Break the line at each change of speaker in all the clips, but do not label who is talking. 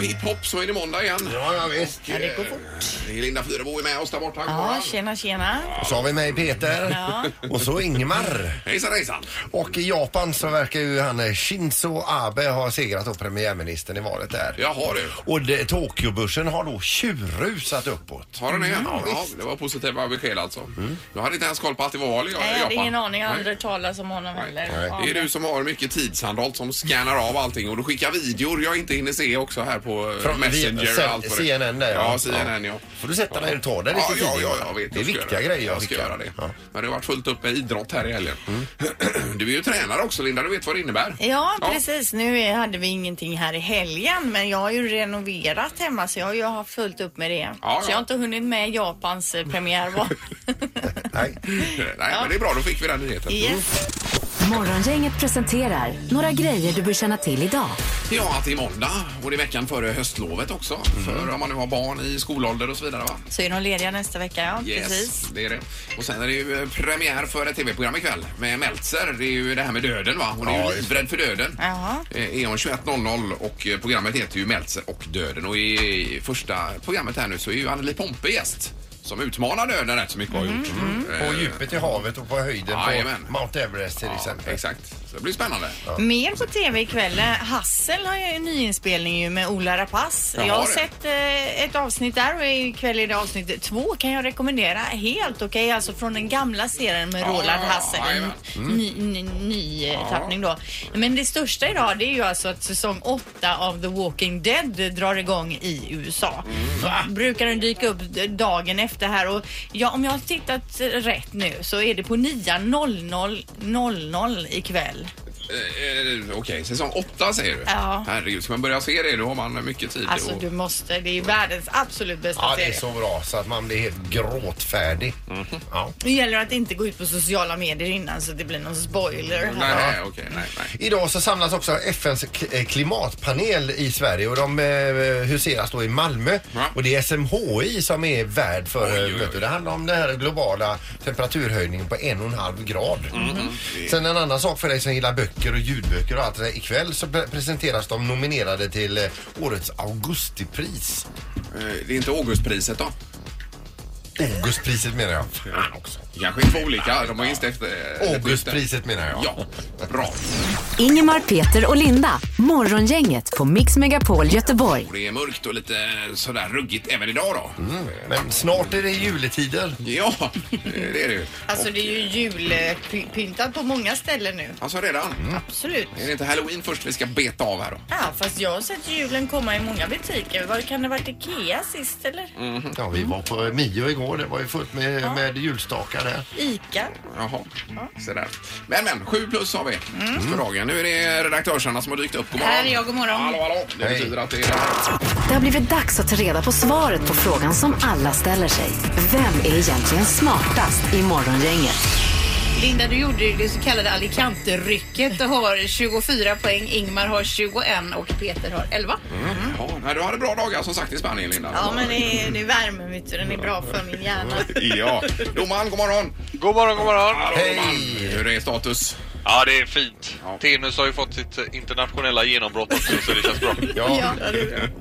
hipp hopp Eh, så är det måndag igen.
Ja, ja visst.
Ja,
det går fort.
Linda Fyrebo är med oss där borta. God
Ja,
morgon.
tjena, tjena.
Så har vi mig Peter
Ja.
och så Ingmar.
Hejsan hejsan.
Och i Japan så verkar ju han eh, Shinzo Abe ha segrat då premiärministern i valet där.
Jaha du.
Och det- Tokyobörsen har då tjurrusat uppåt. Mm.
Har den det? ja, det var positiva besked alltså. Jag hade inte ens koll på att det var val i
Nej, jag hade
Japan.
ingen aning. Jag har
Nej.
aldrig talat om honom heller.
Nej.
Ja,
Det är du som har mycket tidshandhåll som scannar av allting och du skickar videor jag inte hinner se också här på eh,
Från
Messenger.
C-
och allt vad det-
CNN där
ja. CNN ja.
Får du sätta dig och ta dig
Ja,
lite
ja,
tid,
ja,
Ingmar.
jag vet.
Det är
jag ska
viktiga
göra
grejer
Jag
att
ska
skicka.
göra det.
Ja. Mm.
Men det har varit fullt upp med idrott här i helgen. Du är ju tränare också Linda, du vet vad det innebär.
Ja, precis. Nu är- hade vi ingenting här i helgen, men jag har ju renoverat hemma så jag har ju haft fullt upp med det.
ja.
Så jag har inte hunnit med Japans eh, premiär. va?
Nej.
Eh, Nej, men det är bra, då fick vi den nyheten.
yes.
Morgongänget presenterar några grejer du bör känna till idag.
Ja, att det är måndag och det är veckan före höstlovet också. För om man nu har barn i skolålder och så vidare va?
Så är de lediga nästa vecka, ja.
Yes,
Precis.
det är det. Och sen är det ju eh, premiär för ett tv-program ikväll med Meltzer. Det är ju det här med döden va? Hon är
Ja,
ju
just
livrädd för döden.
Jaha.
Eh, Är hon 21.00 och eh, programmet heter ju Meltzer och döden. Och i första programmet här nu så är ju Anneli Pompe gäst. Som utmanar döden rätt så mycket har
Mm-hmm.
gjort. Eh,
På djupet i havet och på höjden
Jajamän.
på Mount Everest till
ja,
exempel.
Exakt. Så det blir spännande.
Mer på tv ikväll. Hassel har ju en nyinspelning ju med Ola Rapace.
Jaha,
jag har
det.
sett eh, ett avsnitt där och ikväll är det avsnitt två kan jag rekommendera. Helt okej, alltså från den gamla serien med
Ja,
Roland
ja, Mm.
Hassel.
jajamän.
En ny, ny, ny eh, tappning då. Men det största idag det är ju alltså att säsong åtta av The Walking Dead drar igång i USA.
Mm.
Brukar den dyka upp d- dagen efter här och ja, om jag har tittat eh, rätt nu så är det på 9.00 ikväll.
Eh, eh, Okej, säsong 8 säger du?
Ja.
Herregud, ska man börja se det då har man mycket tid.
Alltså du måste, det är världens absolut bästa
Ja, det är
serie.
så bra så att man blir helt gråtfärdig.
Mhm.
Ja.
Det gäller att inte gå ut på sociala medier innan så det blir någon spoiler.
Nej,
här.
nej, okej, nej, nej.
Idag så samlas också FNs k- eh, klimatpanel i Sverige och de eh, huseras då i Malmö.
Ja.
Och det är SMHI som är värd
Oj,
för
oj,
eh,
oj.
mötet. Det handlar om den här globala temperaturhöjningen på en och en halv grad.
Mm,
Sen en annan sak för dig som gillar böcker och ljudböcker och allt det där. Ikväll så pre- presenteras de nominerade till eh, årets augustipris.
Eh, Det är inte Augustpriset då?
Augustpriset menar jag. Fan också.
Det kanske är två olika. De har inte efter...
Augustpriset menar jag.
Ja, bra.
Ingemar, Peter och Linda. Morgongänget på Mix Megapol Göteborg.
Och det är mörkt och lite sådär ruggigt även idag då.
Men snart är det juletider.
Ja, eh, det är det ju.
Alltså det är ju julpyntat på många ställen nu.
Alltså redan?
Absolut.
Är det inte halloween först vi ska beta av här då?
Ja, fast jag har sett julen komma i många butiker. Var kan det ha varit Ikea sist eller?
Ja, vi var på Mio igår. Det var ju fullt med, med julstakar där.
Ica?
Jaha,
Mm.
sådär. Men men, sju plus har vi för dagen. Nu är det redaktörsarna som har dykt upp. God morgon.
Här är jag, god morgon.
Hallå, hallå. Det
Hej.
betyder att det är...
Det har blivit dags att ta reda på svaret på frågan som alla ställer sig. Vem är egentligen smartast i Morgongänget?
Linda, du gjorde ju det så kallade Alicante-rycket och har 24 poäng. Ingmar har 21 och Peter har 11.
Mm.
Ja, nej, du hade bra dagar som sagt i Spanien, Linda.
Ja, men det är, det är värmen vet du. Den är bra för min hjärna.
Ja. Domaren, god morgon.
God morgon, god morgon.
Hallå,
Hej.
domaren. Hur är status?
Ja, det är fint.
Ja.
Tenus har ju fått sitt eh, internationella genombrott också, så det känns bra.
Ja.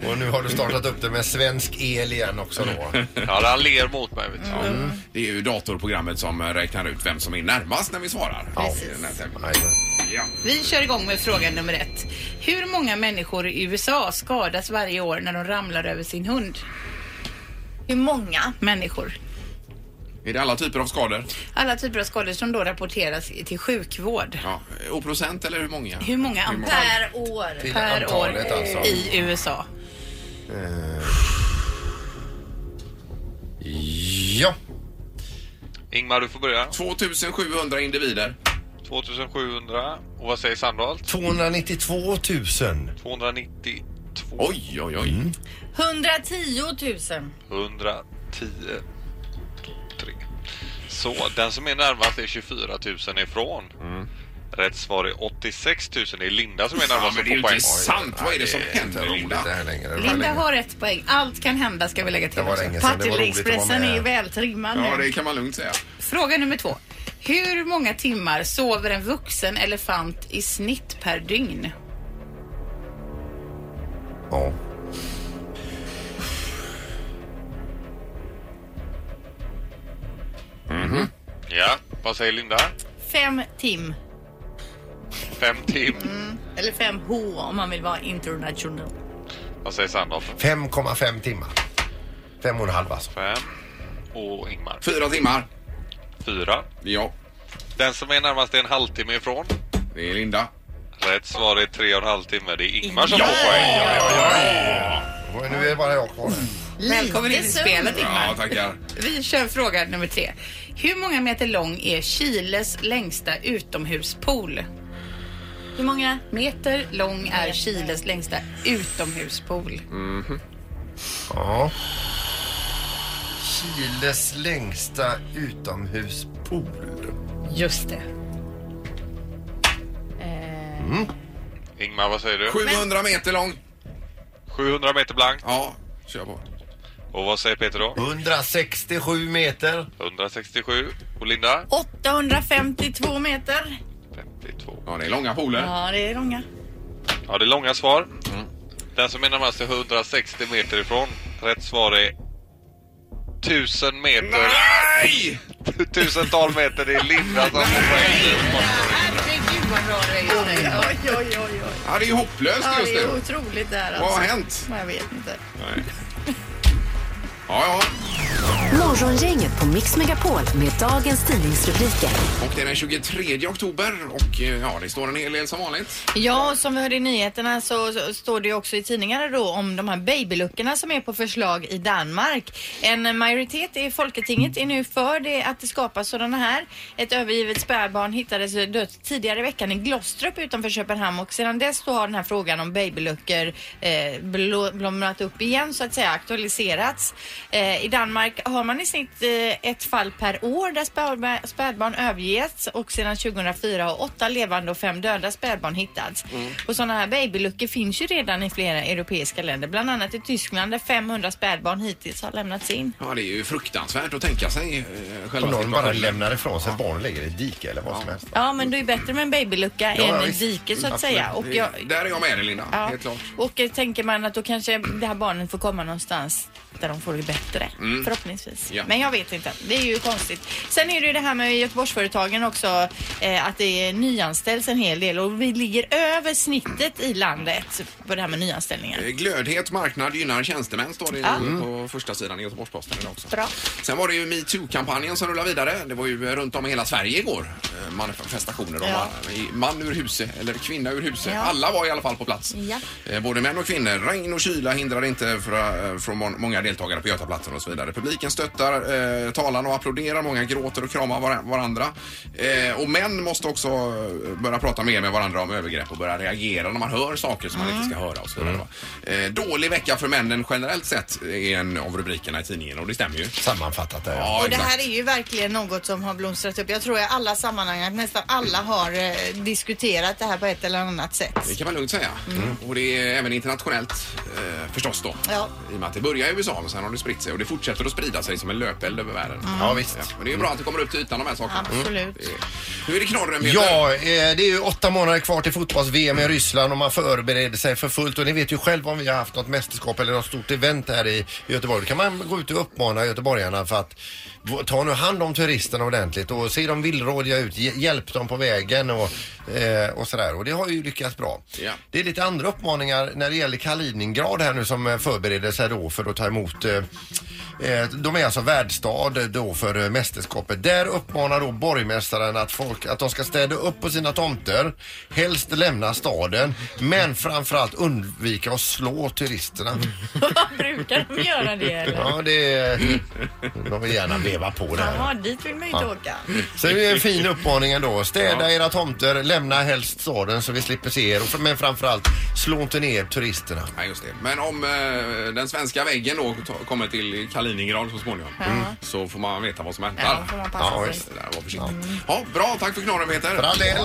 Och nu har du startat upp det med svensk el igen också då.
Ja, han ler mot mig. Vet du.
Ja. Det är ju datorprogrammet som räknar ut vem som är närmast när vi svarar.
Precis.
Den här tävlingen.
Nej,
Ja.
Vi kör igång med fråga nummer ett. Hur många människor i USA skadas varje år när de ramlar över sin hund?
Hur många?
Människor.
Är det alla typer av skador?
Alla typer av skador som då rapporteras till sjukvård.
Ja. Och procent eller hur många?
Hur många antal
Per år?
till
per år
antalet alltså.
i USA?
Ja.
Ingmar, du får börja.
2700 individer.
2700. Och vad säger Sandholt?
292 000.
292.
Oj, oj, oj.
110 000.
110. 3. Så, den som är närmast är 24 000 ifrån. Rätt svar är 86 000. Det är Linda som är
Mm. Ja,
närmast
men det är
och får
ju
poäng.
inte sant. Vad är det som
Nej, inte
händer,
roligt Det
Linda?
här längre. Det var
Linda
länge.
har ett poäng. Allt kan hända ska vi lägga till
Det var
också.
länge sedan. Det var
Partille
roligt att vara
Expressen är ju
med.
vältrimmad
Ja,
nu.
det kan man lugnt säga.
Fråga nummer två. Hur många timmar sover en vuxen elefant i snitt per dygn?
Ja.
Vad säger Linda?
Fem tim.
Fem tim.
Eller fem H om man vill vara international.
Vad säger Sandhoff?
5,5 timmar. Fem och en halv alltså.
Fem. Och Ingmar?
Fyra timmar.
Fyra.
Ja,
Den som är närmast är en halvtimme ifrån.
det är Linda.
Rätt svar är tre och en halv timme. Det är Ingmar som får poäng.
Och nu är det bara jag kvar här.
Välkommen in i
Lite
spelet Ingmar.
Ja, tackar.
Vi kör fråga nummer tre. Hur många meter lång är Chiles längsta utomhuspool?
Hur många?
Meter lång är Chiles längsta utomhuspool.
Ja. Chiles längsta utomhuspool.
Just det.
Ingmar, vad säger du?
700 meter lång.
700 meter blankt.
Ja, kör på.
Och vad säger Peter
Mm.
då?
167 meter.
167. Och Linda?
852 meter.
52.
Ja, det är långa poler.
Ja, det är långa.
Ja, det är långa svar. Den som är närmast är 160 meter ifrån. Rätt svar är 1000 meter.
Nej!
Tusental meter. Det är Linda som får poäng.
Herregud vad bra du är just nu.
Oj, oj, oj, oj.
Ja, det är ju hopplöst
Ja,
just
det är
nu.
otroligt det här
Vad har
alltså.
hänt?
Jag vet inte.
Nej. Ja,
Morgongänget på Mix Megapol med dagens tidningsrubriker.
ja. Och det är den 23 oktober och eh, ja, det står en hel del som vanligt.
Ja, och som vi hörde i nyheterna så, så står det ju också i tidningarna då om de här babyluckorna som är på förslag i Danmark. En majoritet i Folketinget är nu för det att det skapas sådana här. Ett övergivet spädbarn hittades dött tidigare i veckan i Glostrup utanför Köpenhamn och sedan dess då har den här frågan om babyluckor eh, blå- blommat upp igen så att säga, aktualiserats. Eh, I Danmark har man i snitt eh, ett fall per år där spädba- spädbarn överges och sedan 2004 har åtta levande och fem döda spädbarn hittats.
Mm.
Och sådana här babyluckor finns ju redan i flera europeiska länder, bland annat i Tyskland där 500 spädbarn hittills har lämnats in.
Ja, det är ju fruktansvärt att tänka sig eh, själva
Om någon bara
situationen.
lämnar ifrån sig barn ligger i ett dike eller vad som helst.
Ja, men det är ju bättre med en babylucka
Ja, ja,
än ett
visst.
dike så att
Absolut.
säga. Och
Det-
jag,
Där är jag med dig, Linda.
ja.
Helt klart.
och eh, tänker man att då kanske det här barnen får komma någonstans där de får det bättre. Förhoppningsvis.
Mm. Ja.
Men jag vet inte. Det är ju konstigt. Sen är det ju det här med Göteborgsföretagen också. Eh, att det är nyanställs en hel del och vi ligger över snittet i landet på det här med nyanställningar.
Eh, Glödhet marknad gynnar tjänstemän står det
Ja.
ju på första sidan i Göteborgs-Posten idag också.
Bra.
Sen var det ju metoo-kampanjen som rullar vidare. Det var ju eh, runt om i hela Sverige igår. eh, Manifestationer om
Ja.
man, man ur huset eller kvinna ur huset.
Ja.
Alla var i alla fall på plats.
Ja.
Eh, Både män och kvinnor. Regn och kyla hindrar inte fra- eh, från må- många deltagare på Götaplatsen och så vidare. Publiken stöttar eh, talarna och applåderar. Många gråter och kramar var- varandra. Eh, och män måste också eh, börja prata mer med varandra om övergrepp och börja reagera när man hör saker som man inte ska höra och så vidare. va. Eh, dålig vecka för männen generellt sett eh, är en av rubrikerna i tidningen och det stämmer ju.
Sammanfattat där. Ja.
Ja,
Och det
exakt.
här är ju verkligen något som har blomstrat upp. Jag tror i alla sammanhang att nästan alla har eh, diskuterat det här på ett eller annat sätt.
Det kan man lugnt säga.
Mm.
Mm. Och det är även internationellt eh, förstås då.
Ja.
I och med att det börjar i USA men sen har det spritt sig och det fortsätter att sprida sig som en löpeld över världen.
Ja, visst.
Men det är ju bra att det kommer upp till ytan de här sakerna.
Mm.
Mm.
Absolut.
Det är- Nu är det knorren Peter.
Ja, eh, det är ju åtta månader kvar till fotbolls-VM i Ryssland och man förbereder sig för fullt. Och ni vet ju själva om vi har haft något mästerskap eller något stort event här i Göteborg. Då kan man gå ut och uppmana göteborgarna för att v- ta nu hand om turisterna ordentligt och se dem villrådiga ut, hj- hjälp dem på vägen och, eh, och sådär. Och det har ju lyckats bra.
Ja.
Det är lite andra uppmaningar när det gäller Kaliningrad här nu som eh, förbereder sig då för att ta emot eh, eh, de är alltså värdstad eh, då för eh, mästerskapet. Där uppmanar då borgmästaren att folk att de ska städa upp på sina tomter, helst lämna staden, men framförallt undvika att slå turisterna.
Brukar de göra det eller?
Ja, det är, de vill gärna veva på det här.
Jaha, dit vill man ju inte åka.
Så det är en fin uppmaning ändå. Städa era tomter, lämna helst staden så vi slipper se er. Och- Men framförallt, slå inte ner turisterna.
Nej, just det. Men om eh, den svenska väggen då ta- kommer till Kaliningrad så småningom Mm. så får man veta vad som händer.
Ja, får man passa
ja,
sig.
visst. Det där var försiktigt. Ja, bra, tack för knorren Peter.
För all del.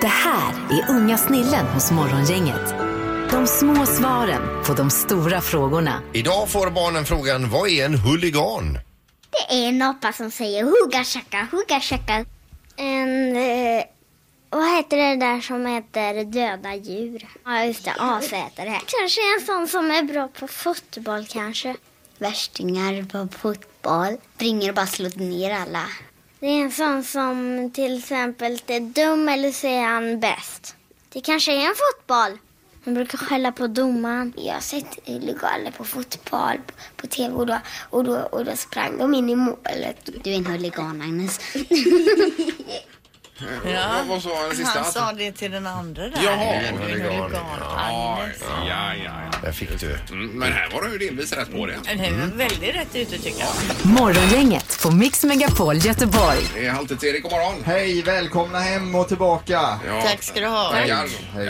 Det här är unga snillen hos Morgongänget. De små svaren på de stora frågorna.
Idag får barnen frågan, vad är en huligan?
Det är en apa som säger hugga chacka, hugga chacka. En... Eh, vad heter det där som heter döda djur? Ja, just det. As heter det. Kanske en sån som är bra på fotboll kanske. värstingar på fotboll. Springer och bara slår ner alla. Det är en sån som till exempel är dum eller så är han bäst. Det kanske är en fotboll. Han brukar skälla på domaren. Jag har sett huliganer på fotboll på tv och då, och, då, och då sprang de in i målet. Du är en huligan, Agnes.
Ja. Vad, vad sa den sista?
Han sa det till den andra där.
Jaha.
En huligan,
Ja,
Agnes.
ja, ja. ja.
Där fick du.
Mm, men här var du ju delvis rätt på det.
Det är väldigt rätt ute tycker jag.
Morgongänget på Mix Megapol Göteborg.
Det är halvtids Erik, god morgon.
Hej, välkomna hem och tillbaka.
Ja,
Tack ska du ha.
Tackar.
Hej.
Ja,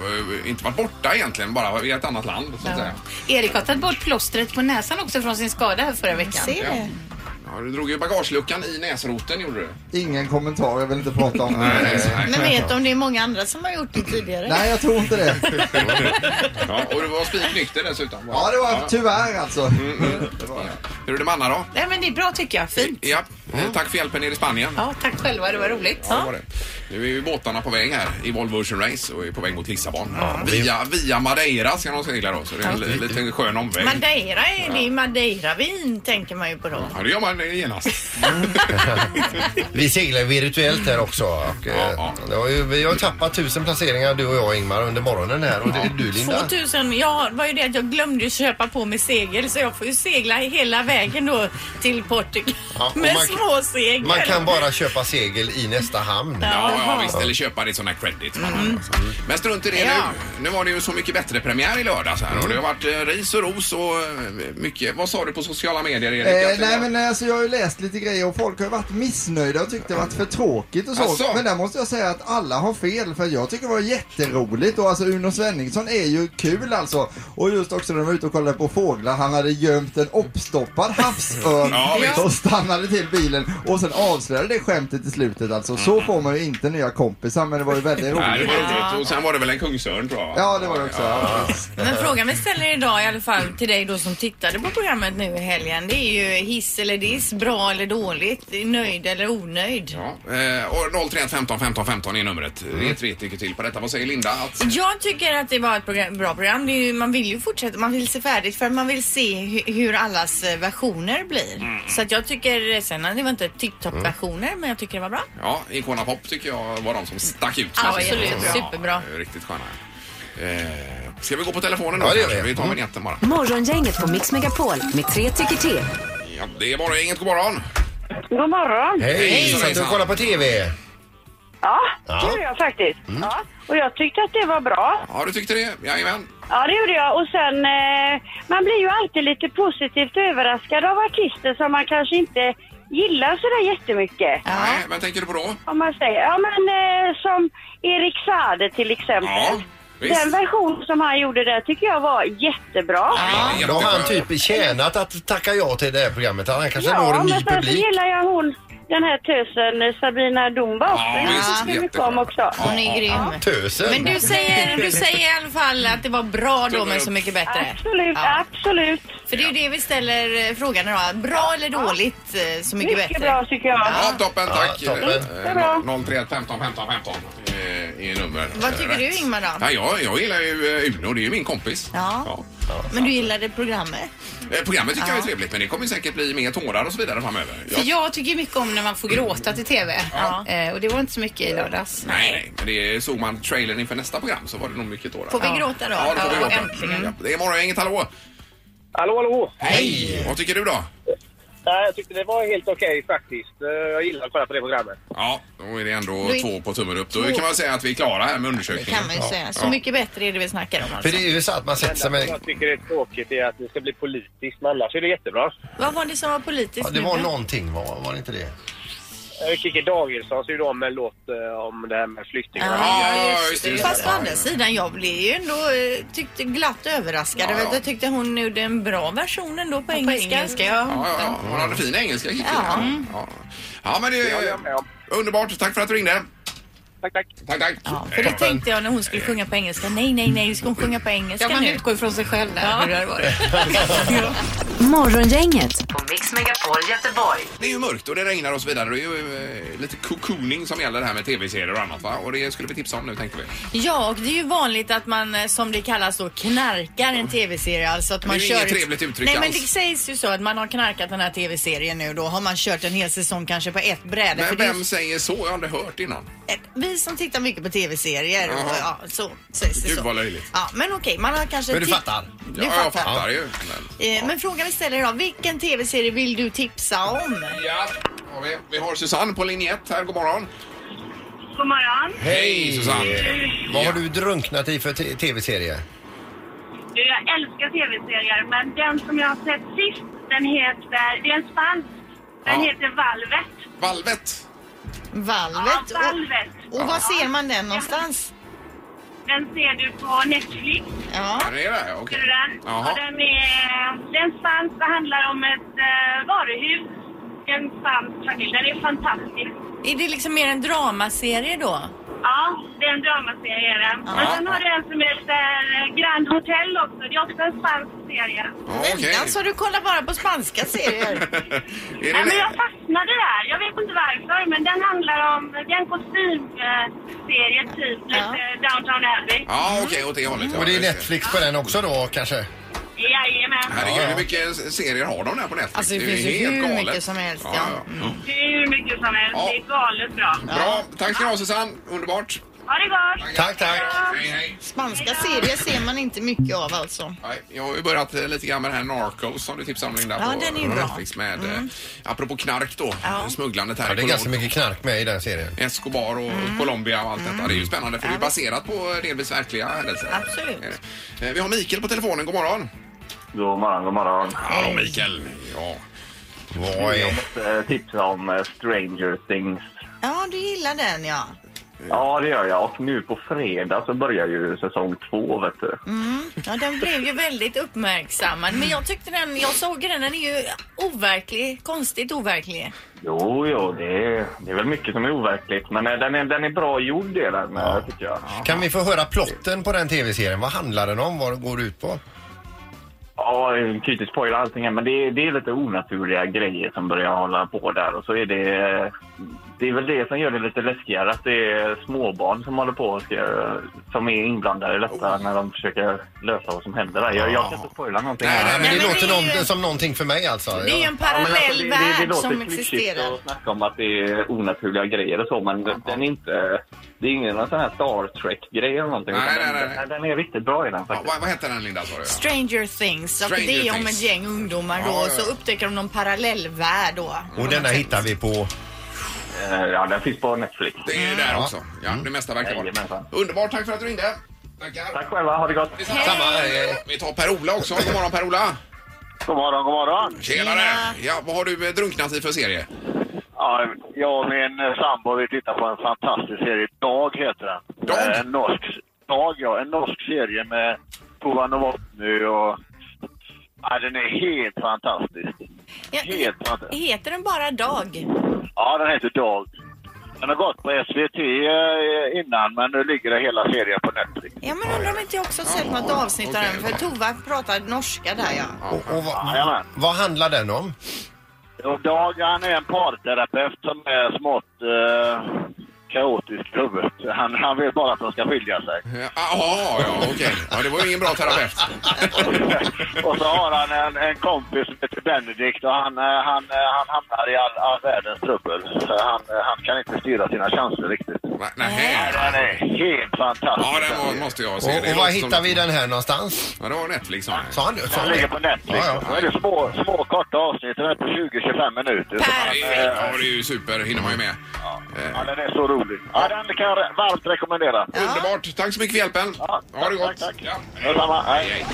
jag har ju inte varit borta egentligen, bara i ett annat land så att säga.
Erik har tagit bort plåstret på näsan också från sin skada här förra veckan.
Ser
Ja.
det?
Ja, du drog ju bagageluckan i näsroten gjorde du. Eh,
Ingen kommentar, jag vill inte prata om det.
Men vet du om det är många andra som har gjort det tidigare?
Nej, jag tror inte det.
Ja, och du var spiknykter dessutom. va?
Ja, det var tyvärr alltså.
Mm.
Hur är det med Anna då?
Nej men det är bra tycker jag. Fint.
Ja, eh, tack för hjälpen nere i Spanien.
Ja, tack själva. Det var roligt.
Ja, det var det. Nu är ju båtarna på väg här i Volvo Ocean Race och är på väg mot Lissabon. Via, via Madeira ska de segla då, så det är en li- liten skön omväg.
Madeira, är det är madeiravin tänker man ju på då.
Ja, det gör man genast.
Vi seglar virtuellt här också. Och, eh,
Ja, ja.
det har ju, vi har tappat tusen placeringar du och jag Ingmar under morgonen här. Och det, du Linda?
2000, ja det var ju det att jag glömde ju köpa på mig segel så jag får ju segla hela vägen då till Portugal
Ja, och
med
man-
små segel.
Man kan bara köpa segel i nästa hamn.
Ja, ja, visst. Eller köpa det i sådana credit. alltså. Men strunt i det
Ja.
nu. Nu var det ju Så mycket bättre-premiär i lördags här och det har varit eh, ris och ros och eh, mycket. Vad sa du på sociala medier, Erik? Jag
Eh,
tror-
nej men alltså jag har ju läst lite grejer och folk har ju varit missnöjda och tyckt det varit för tråkigt och så.
Asså?
Men där måste jag säga att alla har fel för jag tycker det var jätteroligt och alltså Uno Svenningsson är ju kul alltså. Och just också när de var ute och kollade på fåglar, han hade gömt en uppstoppad havsörn
Ja, visst.
och stannade till bilen och sen avslöjade det skämtet i slutet alltså. Så får man ju inte nya kompisar men det var ju väldigt
Mm. Nej, det
roligt.
var roligt. Och sen var det väl en kungsörn tror jag.
Ja det var det också. Ja.
Men frågan vi ställer idag i alla fall till dig då som tittade på programmet nu i helgen det är ju hiss eller diss, bra eller dåligt, nöjd eller onöjd.
Ja. Eh, och 031 15 15 15 är numret. Det är tre tycker till på detta. Vad säger Linda? Att...
Jag tycker att det var ett program, bra program. Det är ju, man vill ju fortsätta, man vill se färdigt för man vill se hu, hur allas eh, versioner blir.
Mm.
Så att jag tycker, eh, sen det var inte tipptopp-versioner men jag tycker det var bra.
Ja, Icona Pop tycker jag var de som stack ut.
Absolut,
Ja,
superbra.
Riktigt sköna. Eh, ska vi gå på telefonen då?
Ja, det gör
kanske?
vi.
vi tar vinjetten bara.
Morgongänget på Mix Megapol med tre tycker till.
Ja, det är bara inget god morgon.
God morgon.
Hej!
Hejsan,
Satt du och
hejsan.
kollade på TV?
Ja,
Ja. Mm.
det gjorde jag faktiskt. Ja. Och jag tyckte att det var bra.
Ja, du tyckte det? Jajamän.
Ja, det gjorde jag. Och sen, eh, man blir ju alltid lite positivt överraskad av artister som man kanske inte gillar sådär jättemycket.
Nej, vad tänker du på då?
Om man säger, ja men eh, som Erik Saade till exempel.
Ja, visst.
Den version som han gjorde där tycker jag var jättebra.
Ja,
Då har han
jättebra.
typ tjänat att tacka ja till det här programmet. Han kanske
Ja,
når en ny
men sen så
publik.
gillar jag hon, den här tösen eh, Sabina Dumba också.
Ja,
jag
visst,
tycker mycket
jättebra.
om också.
Hon är grym.
Tösen!
Men du säger, du säger i alla fall att det var bra då men så mycket bättre.
Absolut,
Ja.
absolut.
För det är ju det vi ställer eh, frågan idag. Bra eller dåligt, eh, så mycket,
Mycket
bättre.
bra tycker jag.
Ja, toppen, tack.
Ja, toppen.
Eh, no- 031 15 15 15 eh, är nummer.
Vad tycker
Rätt.
du, Ingmar, då?
Ja, jag, jag gillar ju eh, Uno, det är ju min kompis.
Ja. Men du gillade programmet?
Eh, Programmet tycker jag är trevligt men det kommer säkert bli mer tårar och så vidare framöver. Ja.
För jag tycker mycket om när man får gråta till TV.
Ja.
Eh, och det var inte så mycket i lördags.
Nej, nej, men det såg man trailern inför nästa program så var det nog mycket tårar.
Får vi gråta då?
Ja, det får vi
Ja,
gråta.
äntligen.
Mm. Ja, Det är morgongänget, hallå!
Hallå, hallå!
Hej! Vad tycker du då?
Nej, jag tyckte det var helt okej faktiskt. Eh, Jag gillar att kolla på det programmet.
Ja, då är det ändå
Då är-
två på tummen upp. Då kan man säga att vi är klara här med
Det
undersökningen.
kan man ju säga. Så
Ja.
mycket bättre är det vi snackar om alltså.
För det är ju så att man sätter
Det
sig
enda
med...
jag tycker det är tråkigt är att det ska bli politiskt, men annars är det jättebra.
Vad var det som var
Ja,
politiskt
det
nu
var
då?
någonting, var, var det inte det?
Eh, Kikki Danielsson så gjorde om en låt eh, om det här med flyktingar.
Ja, just det. just det.
Fast å andra sidan, jag blev ju ändå eh, tyckte glatt överraskad.
Ja,
över att
ja.
Jag tyckte hon gjorde en bra version ändå på engelska.
engelska, ja.
Ja, ja, ja. Hon hade fin engelska, Kikki. Ja.
Mm.
Ja. ja, men det
Det håller
är
jag med om.
underbart. Tack för att du ringde.
Tack, tack.
Tack, tack.
Ja, för det tänkte jag när hon skulle sjunga på engelska. Nej, nej, nej, ska hon sjunga på engelska
Ja, man
nu?
utgår ifrån sig själv där.
Ja.
Hur det hade varit.
Morgongänget Mix Megapol Göteborg.
Det är ju mörkt och det regnar och så vidare. Det är ju eh, lite cocooning som gäller det här med tv-serier och annat va? Och det skulle vi tipsa om nu tänkte vi.
Ja, och det är ju vanligt att man eh, som det kallas då knarkar en tv-serie. Alltså att
Men
man
det är ju
kör
inget
ett-
trevligt uttryck
Nej, men
alls.
det sägs ju så att man har knarkat den här tv-serien nu då. Har man kört en hel säsong kanske på ett bräde.
Men
för det är ju-
vem säger så? Jag har aldrig hört innan.
Vi som tittar mycket på tv-serier och
Jaha.
ja, så sägs det
Gud,
så.
vad löjligt.
Ja, men okej, man har kanske...
Men du
titt-
fattar?
Du
Ja, jag
fattar.
fattar ju. Men...
Eh, Men frågan vi ställer idag, vilken tv-serie vill du tipsa om?
Ja, har vi. vi har Susanne på linje 1 här. God morgon.
God morgon.
Hej Susanne!
Eh,
Vad har
Ja.
du drunknat i för te- tv-serie?
Du, jag älskar tv-serier, men den som jag har sett sist, den heter... Det är en spansk. Den
Ja.
heter Valvet.
Valvet!
Valvet.
Ja, Valvet.
Och, och var ser man den någonstans?
Den ser du på Netflix.
Ja.
Ja, det är det? Okej.
Ser du den?
Jaha.
Och den är... Det är en spansk. Det handlar om ett eh, varuhus. En spansk familj. Den är fantastisk.
Är det liksom mer en dramaserie då?
Ja, det är en dramaserie. är det. Men sen har du en som heter eh, Grand Hotel också. Det är också en spansk serie.
Ja, okej.
Vänta, så du kollar bara på spanska serier?
Är
Nej,
det
men jag
det?
fastnade där. Jag vet inte varför, men den handlar om... Det är en kostymserie, typ. Lite Downtown Abbey.
Ja, okej, åt det hållet. Ja,
Och det är
just
Netflix på den också då kanske?
Jajamän.
Herregud,
Ja, ja.
hur mycket serier har de där på Netflix?
Alltså, det finns ju
helt
hur
galet.
mycket som helst, ja. Mm.
Hur mycket som helst.
Ja.
Det är galet bra.
Bra, tack ska du ha Susanne. Underbart.
Ha det gott!
Tack, tack.
Hej, hej.
Spanska serier ser man inte mycket av alltså.
Nej, Jag har ju börjat eh, lite grann med den här Narcos som du tipsade om Linda.
Ja,
på
den är ju bra.
Netflix med, mm. apropå knark då,
Ja.
smugglandet här
Ja,
i
det är ganska
Colombia.
mycket knark med i den serien.
Escobar och
Mm.
Colombia och allt detta. Det är ju spännande för det är baserat på delvis verkliga händelser.
Absolut.
Är det. Eh, Vi har Mikael på telefonen. God morgon.
God morgon, god morgon.
Hallå Mikael. Ja.
Vad
Jag
är...
måste eh, tipsa om eh, Stranger Things.
Ja, du gillar den ja.
Ja, det gör jag. Och nu på fredag så börjar ju säsong två, vet du.
Mm. Ja, den blev ju väldigt uppmärksammad. Men jag tyckte den, jag såg den, den är ju overklig, konstigt overklig.
Jo, jo, det är, det är väl mycket som är overkligt. Men eh, den är, den är bra gjord, det är den, eh,
Ja.
tycker jag.
Kan vi få höra plotten på den tv-serien? Vad handlar den om? Vad går det ut på?
Ja, jag kan ju inte spoila allting här, men det är, det är lite onaturliga grejer som börjar hålla på där. Och så är det... eh, Det är väl det som gör det lite läskigare, att det är småbarn som håller på och ska, som är inblandade i detta när de försöker lösa vad som händer där. Jag, jag kan inte spoila någonting.
Nej,
här.
nej,
Ja,
men
men det
det
låter
är ju-
någon, som någonting för mig alltså.
Det är ju en
Ja, men alltså,
parallell
det- det- det
värld
låter
som
klyschigt
existerar.
att snacka om att det är onaturliga grejer och så, men den är inte... Det är ingen någon sån här Star Trek-grej eller någonting.
Nej,
utan
nej, nej,
den,
nej.
Den, den är riktigt bra i den
Ja,
faktiskt.
vad, vad heter den Linda sa du? Ja.
Stranger Things. Och
Stranger
det är om
Things.
ett gäng ungdomar
Ja,
då.
ja,
och
ja.
Så upptäcker de någon parallellvärld då.
Och denna hittar vi på...
Eh, Ja, den finns på Netflix.
Det är ju där också. Ja, det mesta verkar vara
Jajamensan.
Underbart, tack för att du ringde. Tackar.
Tack själva, ha det gott!
Detsamma. Vi tar Per-Ola också. God morgon Per-Ola.
God morgon, god morgon!
Tjenare.
Tjena.
Ja, vad har du eh, drunknat i för serie?
Ja, jag och min eh, sambo vi tittar på en fantastisk serie. Dag heter den.
Dag?
Eh, En norsk, Dag, ja. En norsk serie med Tova Novotny och... Ja, den är helt fantastisk.
Ja,
Helt fantastisk.
heter den bara Dag?
Ja, den heter Dag. Den har gått på SVT eh, innan, men nu ligger det hela serien på Netflix.
Ja, men undrar om inte jag också sett något avsnitt av
okej,
den. För
okej.
Tova pratar norska där ja.
Och, och vad,
Jajamän.
vad handlar den om?
Och Dag, han är en parterapeut som är smått eh, kaotisk i huvudet. Han, han vill bara att de ska skilja sig.
Ja, Jaha, ja okej. Ja, det var ju ingen bra terapeut.
och så har han en, en kompis som heter Benedikt och han, eh, han, eh, han hamnar i all, all världens trubbel. Så Han, eh, han kan inte styra sina känslor riktigt.
Nej, Nej.
Den är helt fantastisk.
Ja, den var, måste jag se.
Och,
Det
och var
låter
hittar
som-
vi den här någonstans?
Ja, det var Netflix sa jag.
Sa han det? Sa
Den
han
ligger
det?
på Netflix.
Ja, ja.
Då är det små, små korta avsnitt. Den är på 20-25 minuter. Så
Ja, det
man,
är-
eh,
Ja, det är ju super. hinner man ju med. Eh,
ja, den är så rolig. Ja, den kan jag re- varmt rekommendera.
Underbart. Tack så mycket för hjälpen.
Ja,
Ha det
tack,
gott.
tack, tack.
Ja.
Detsamma. Hej.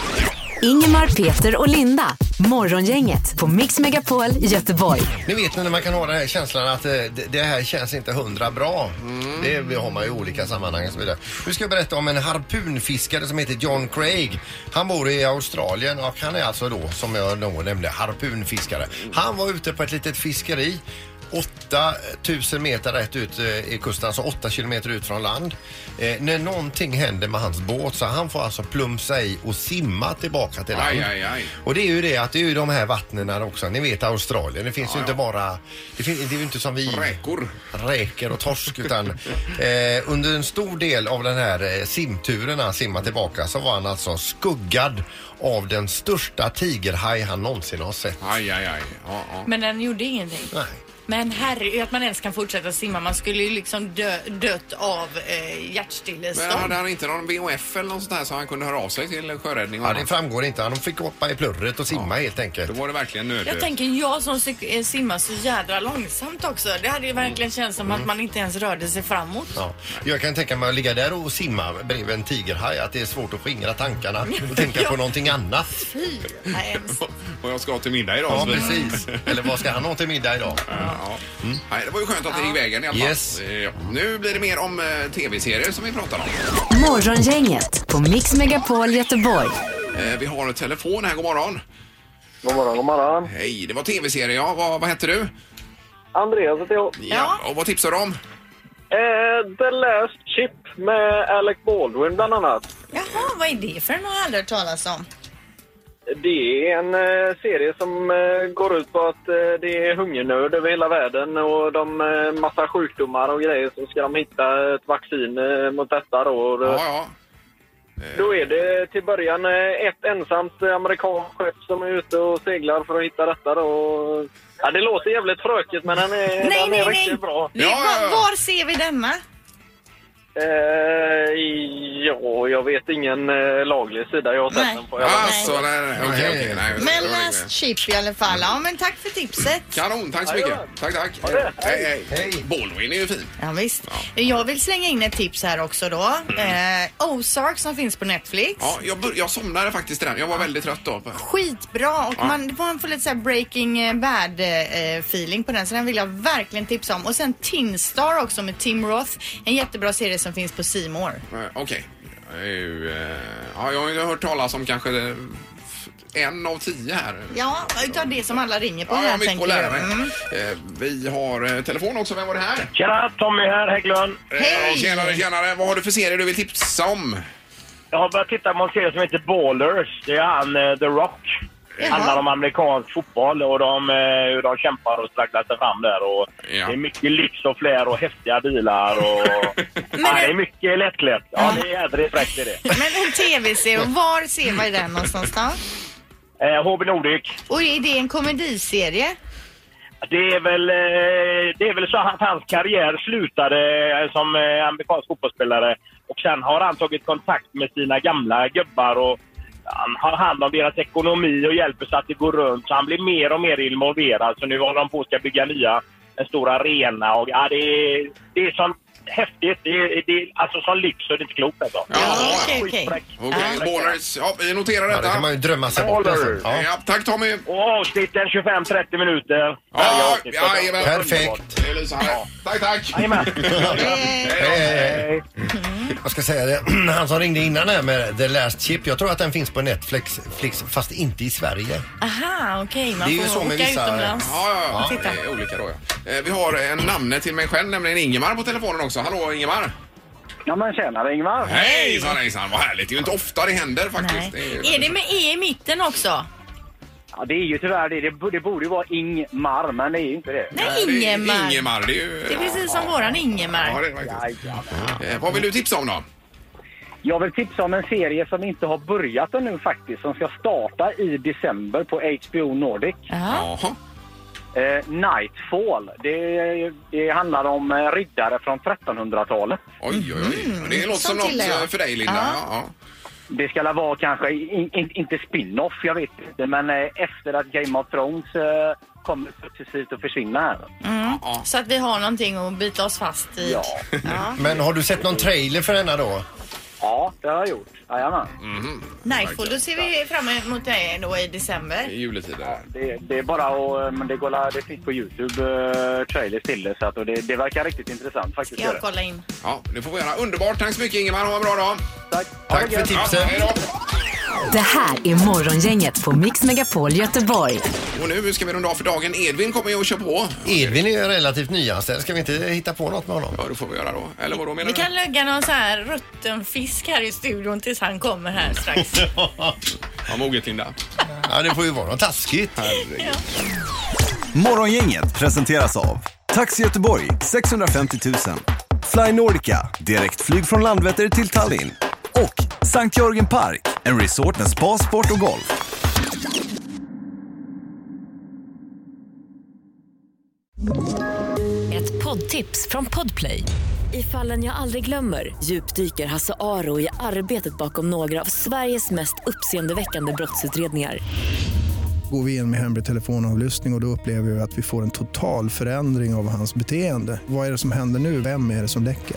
Ingemar, Peter och Linda. Morgongänget på Mix Megapol Göteborg.
Ni vet när man kan ha den här känslan att eh, det, det här känns inte hundra bra.
Mm.
Det har man ju i olika sammanhang och så vidare. Nu ska jag berätta om en harpunfiskare som heter John Craig. Han bor i Australien och han är alltså då, som jag nog nämnde, harpunfiskare. Han var ute på ett litet fiskeri 8000 meter rätt ut eh, i kusten, alltså 8 kilometer ut från land. Eh, när någonting händer med hans båt så han får alltså plumsa i och simma tillbaka till land.
Aj, aj, aj.
Och det är ju det att det är ju de här vattnen där också. Ni vet Australien, det finns ju inte bara... Det, finns, det är ju inte som vi...
Räkor.
Räkor och torsk utan eh, under en stor del av den här eh, simturen när han simmade tillbaka så var han alltså skuggad av den största tigerhaj han någonsin har sett.
Aj, aj, aj. Ja, ja.
Men den gjorde ingenting.
Nej.
Men herregud, att man ens kan fortsätta simma. Man skulle ju liksom dö, dött av eh, hjärtstillestånd.
Men hade han inte någon VHF eller något sånt här så han kunde höra av sig till sjöräddning och
Ja, det
annat?
framgår inte. Han fick hoppa i plurret och simma helt
Då
enkelt.
var det verkligen
Jag
nödvändigt.
tänker jag som cyk- eh, simmar så jädra långsamt också. Det hade ju verkligen känts som att man inte ens rörde sig framåt.
Ja. Jag kan tänka mig att ligga där och simma bredvid en tigerhaj, att det är svårt att skingra tankarna och tänka på någonting annat.
Fy, vad hemskt.
Och jag ska till middag idag.
Ja,
så vi-
precis. Eller vad ska han ha till middag idag?
Ja. Nej, det var ju skönt att det gick vägen i alla fall.
Yes.
Ja. Nu blir det mer om eh, tv-serier som vi pratar om.
Morgongänget på Mix Megapol Göteborg.
Eh, vi har en telefon här, god morgon.
God morgon, god morgon.
Hej, det var tv-serier ja. Vad, vad hette du?
Andreas heter jag.
Ja. Och vad tipsar du om?
Eh, The Last Chip med Alec Baldwin bland annat.
Jaha, vad är det för något jag aldrig hört talas om?
Det är en eh, serie som eh, går ut på att eh, det är hungernöd över hela världen och de eh, massa sjukdomar och grejer så ska de hitta ett vaccin eh, mot detta då. Och,
Ja,
eh,
ja.
Då är det till början eh, ett ensamt eh, amerikanskt skepp som är ute och seglar för att hitta detta då. Ja, det låter jävligt frökigt men den är,
Nej,
den
nej,
är
nej.
riktigt bra.
Vi,
Ja, ja, ja.
var, var ser vi denna?
Eh, ja, jag vet ingen eh, laglig sida jag har
Nej.
sett den på. Jag vet inte.
Alltså, nej, nej, okej,
Nej.
okej. nej.
Men Last Chip i alla fall. Ja, men tack för tipset.
Kanon, tack så mycket.
Jajamän.
Tack, tack.
Ha det.
Hej, hej.
Hej.
Baldwin är ju fin.
Ja, visst. Jag vill slänga in ett tips här också då. Eh, Ozark som finns på Netflix.
Mm. Ja, jag, bör, jag somnade faktiskt i den. Jag var väldigt trött då.
Skitbra och man, man får lite så här breaking bad eh, feeling på den så den vill jag verkligen tipsa om. Och sen Tin Star också med Tim Roth. En jättebra serie som finns på C More.
Eh, Okej. Jag är ju, eh, Ja, jag har ju hört talas om kanske eh, f- en av tio här.
Ja, utav det som alla ringer på
Ja, jag har
här
mycket att
tänker
lära
jag.
mig.
Mm.
Eh, Vi har eh, telefon också. Vem var det här?
Tjena, Tommy här, Hägglund.
Eh,
Hej!
Tjenare, tjenare. Vad har du för serier du vill tipsa om?
Jag har börjat titta på en serie som heter Ballers. Det är han eh, The Rock. Det handlar om amerikansk fotboll och de, eh, hur de kämpar och stragglar sig fram där. Och
Ja.
Det är mycket lyx och flär och häftiga bilar. Och... ja, det är mycket lättklätt. Ja, det är jädrigt fräckt. det är det.
Men en tv-serie, var ser vi den någonstans då?
Eh, HB Nordic.
Och är det en komediserie?
Det är, väl, eh, det är väl så att hans karriär slutade eh, som eh, amerikansk fotbollsspelare och sen har han tagit kontakt med sina gamla gubbar och han har hand om deras ekonomi och hjälper så att det går runt. Så han blir mer och mer involverad. Så nu håller de på att ska bygga nya, en stor arena. Och, ja, det, är, det är så häftigt. Det är, det är, alltså som lyx så det är inte klokt. Alltså.
Ja,
okej, okej.
Skitfräckt.
Okej, Ballers. Ja, vi noterar
Ja, det
detta.
kan man ju drömma sig bort.
Oliver.
nästan. Ja.
Ja, tack Tommy.
Och avsnitten 25-30 minuter. Varje
Ja,
avsnitt.
ja, jajamän.
Perfekt.
Det är Lisa här. Tack, tack.
Jajamän.
Hej, hej, hej.
Hej.
Jag Eh, ska säga det, han som ringde innan här med The Last Chip, jag tror att den finns på Netflix, Flix, fast inte i Sverige.
Eh, Aha, okej. Man
Det är ju
får
så med
åka
vissa-
utomlands.
Ja, ja, ja.
Titta.
Det är olika då, ja. Eh, Vi har en namne till mig själv, nämligen Ingemar på telefonen också. Hallå Ingemar!
Ja, men tjenare Ingvar.
Hejsan hejsan, vad härligt. Det är ju inte ofta det händer faktiskt.
Nej. Är det med E i mitten också?
Ja, det är ju tyvärr det. Det borde- Det borde ju vara Ingmar, men det är ju inte det.
Nej,
Det är
Ingemar.
Ingemar, det är ju...
Det är precis som
ja,
våran
Ja,
Ingemar.
det är det faktiskt.
Jajamän.
Eh, Vad vill du tipsa om då?
Jag vill tipsa om en serie som inte har börjat ännu faktiskt, som ska starta i december på HBO Nordic.
Ja.
Jaha.
Eh, Nightfall. Det, det handlar om eh, riddare från 1300-talet.
Oj, oj, oj. Det låter Mm. som
Sånt
något
gillar jag.
eh, för dig, Linda. Ja.
Ja.
Ja,
Det ska väl vara kanske, in, in, inte spin-off, jag vet inte, men eh, efter att Game of Thrones eh, kommer successivt att försvinna här.
ja.
Mm. Så att vi har någonting att bita oss fast i.
Ja,
Ja.
Men har du sett någon trailer för denna då?
ja det har jag gjort. Jajamän.
Nightfall, då ser vi fram emot det då i december.
I juletider.
Det, det är bara att... eh, Men det, går, la- det finns på Youtube, eh, trailers till det. Så att, och det, det verkar riktigt intressant faktiskt.
Ska jag kolla in.
Ja, det får vi göra. Underbart. Tack så mycket, Ingemar. Ha en bra dag.
Tack, Ha det
Tack för
gött.
Ja,
tipsen.
hej då.
Det här är Morgongänget på Mix Megapol Göteborg.
Och nu ska vi runda av för dagen. Edvin kommer ju och kör på.
Edvin är ju relativt nyanställd. Ska vi inte hitta på något med honom?
Ja, det får vi göra då. Eller vadå menar
Vi
du?
kan lägga någon sån här rutten fisk här i studion tills han kommer här strax.
Ja, moget Linda.
Ja, det får ju vara något taskigt.
Morgongänget presenteras av Taxi Göteborg 650 000 Fly Nordica, direktflyg från Landvetter till Tallinn och Sankt Jörgen Park, en resort med spa, sport och golf.
Ett poddtips från Podplay. I fallen jag aldrig glömmer djupdyker Hasse Aro i arbetet bakom några av Sveriges mest uppseendeväckande brottsutredningar.
Går vi in med hemlig telefonavlyssning och, och då upplever vi att vi får en total förändring av hans beteende. Vad är det som händer nu? Vem är det som läcker?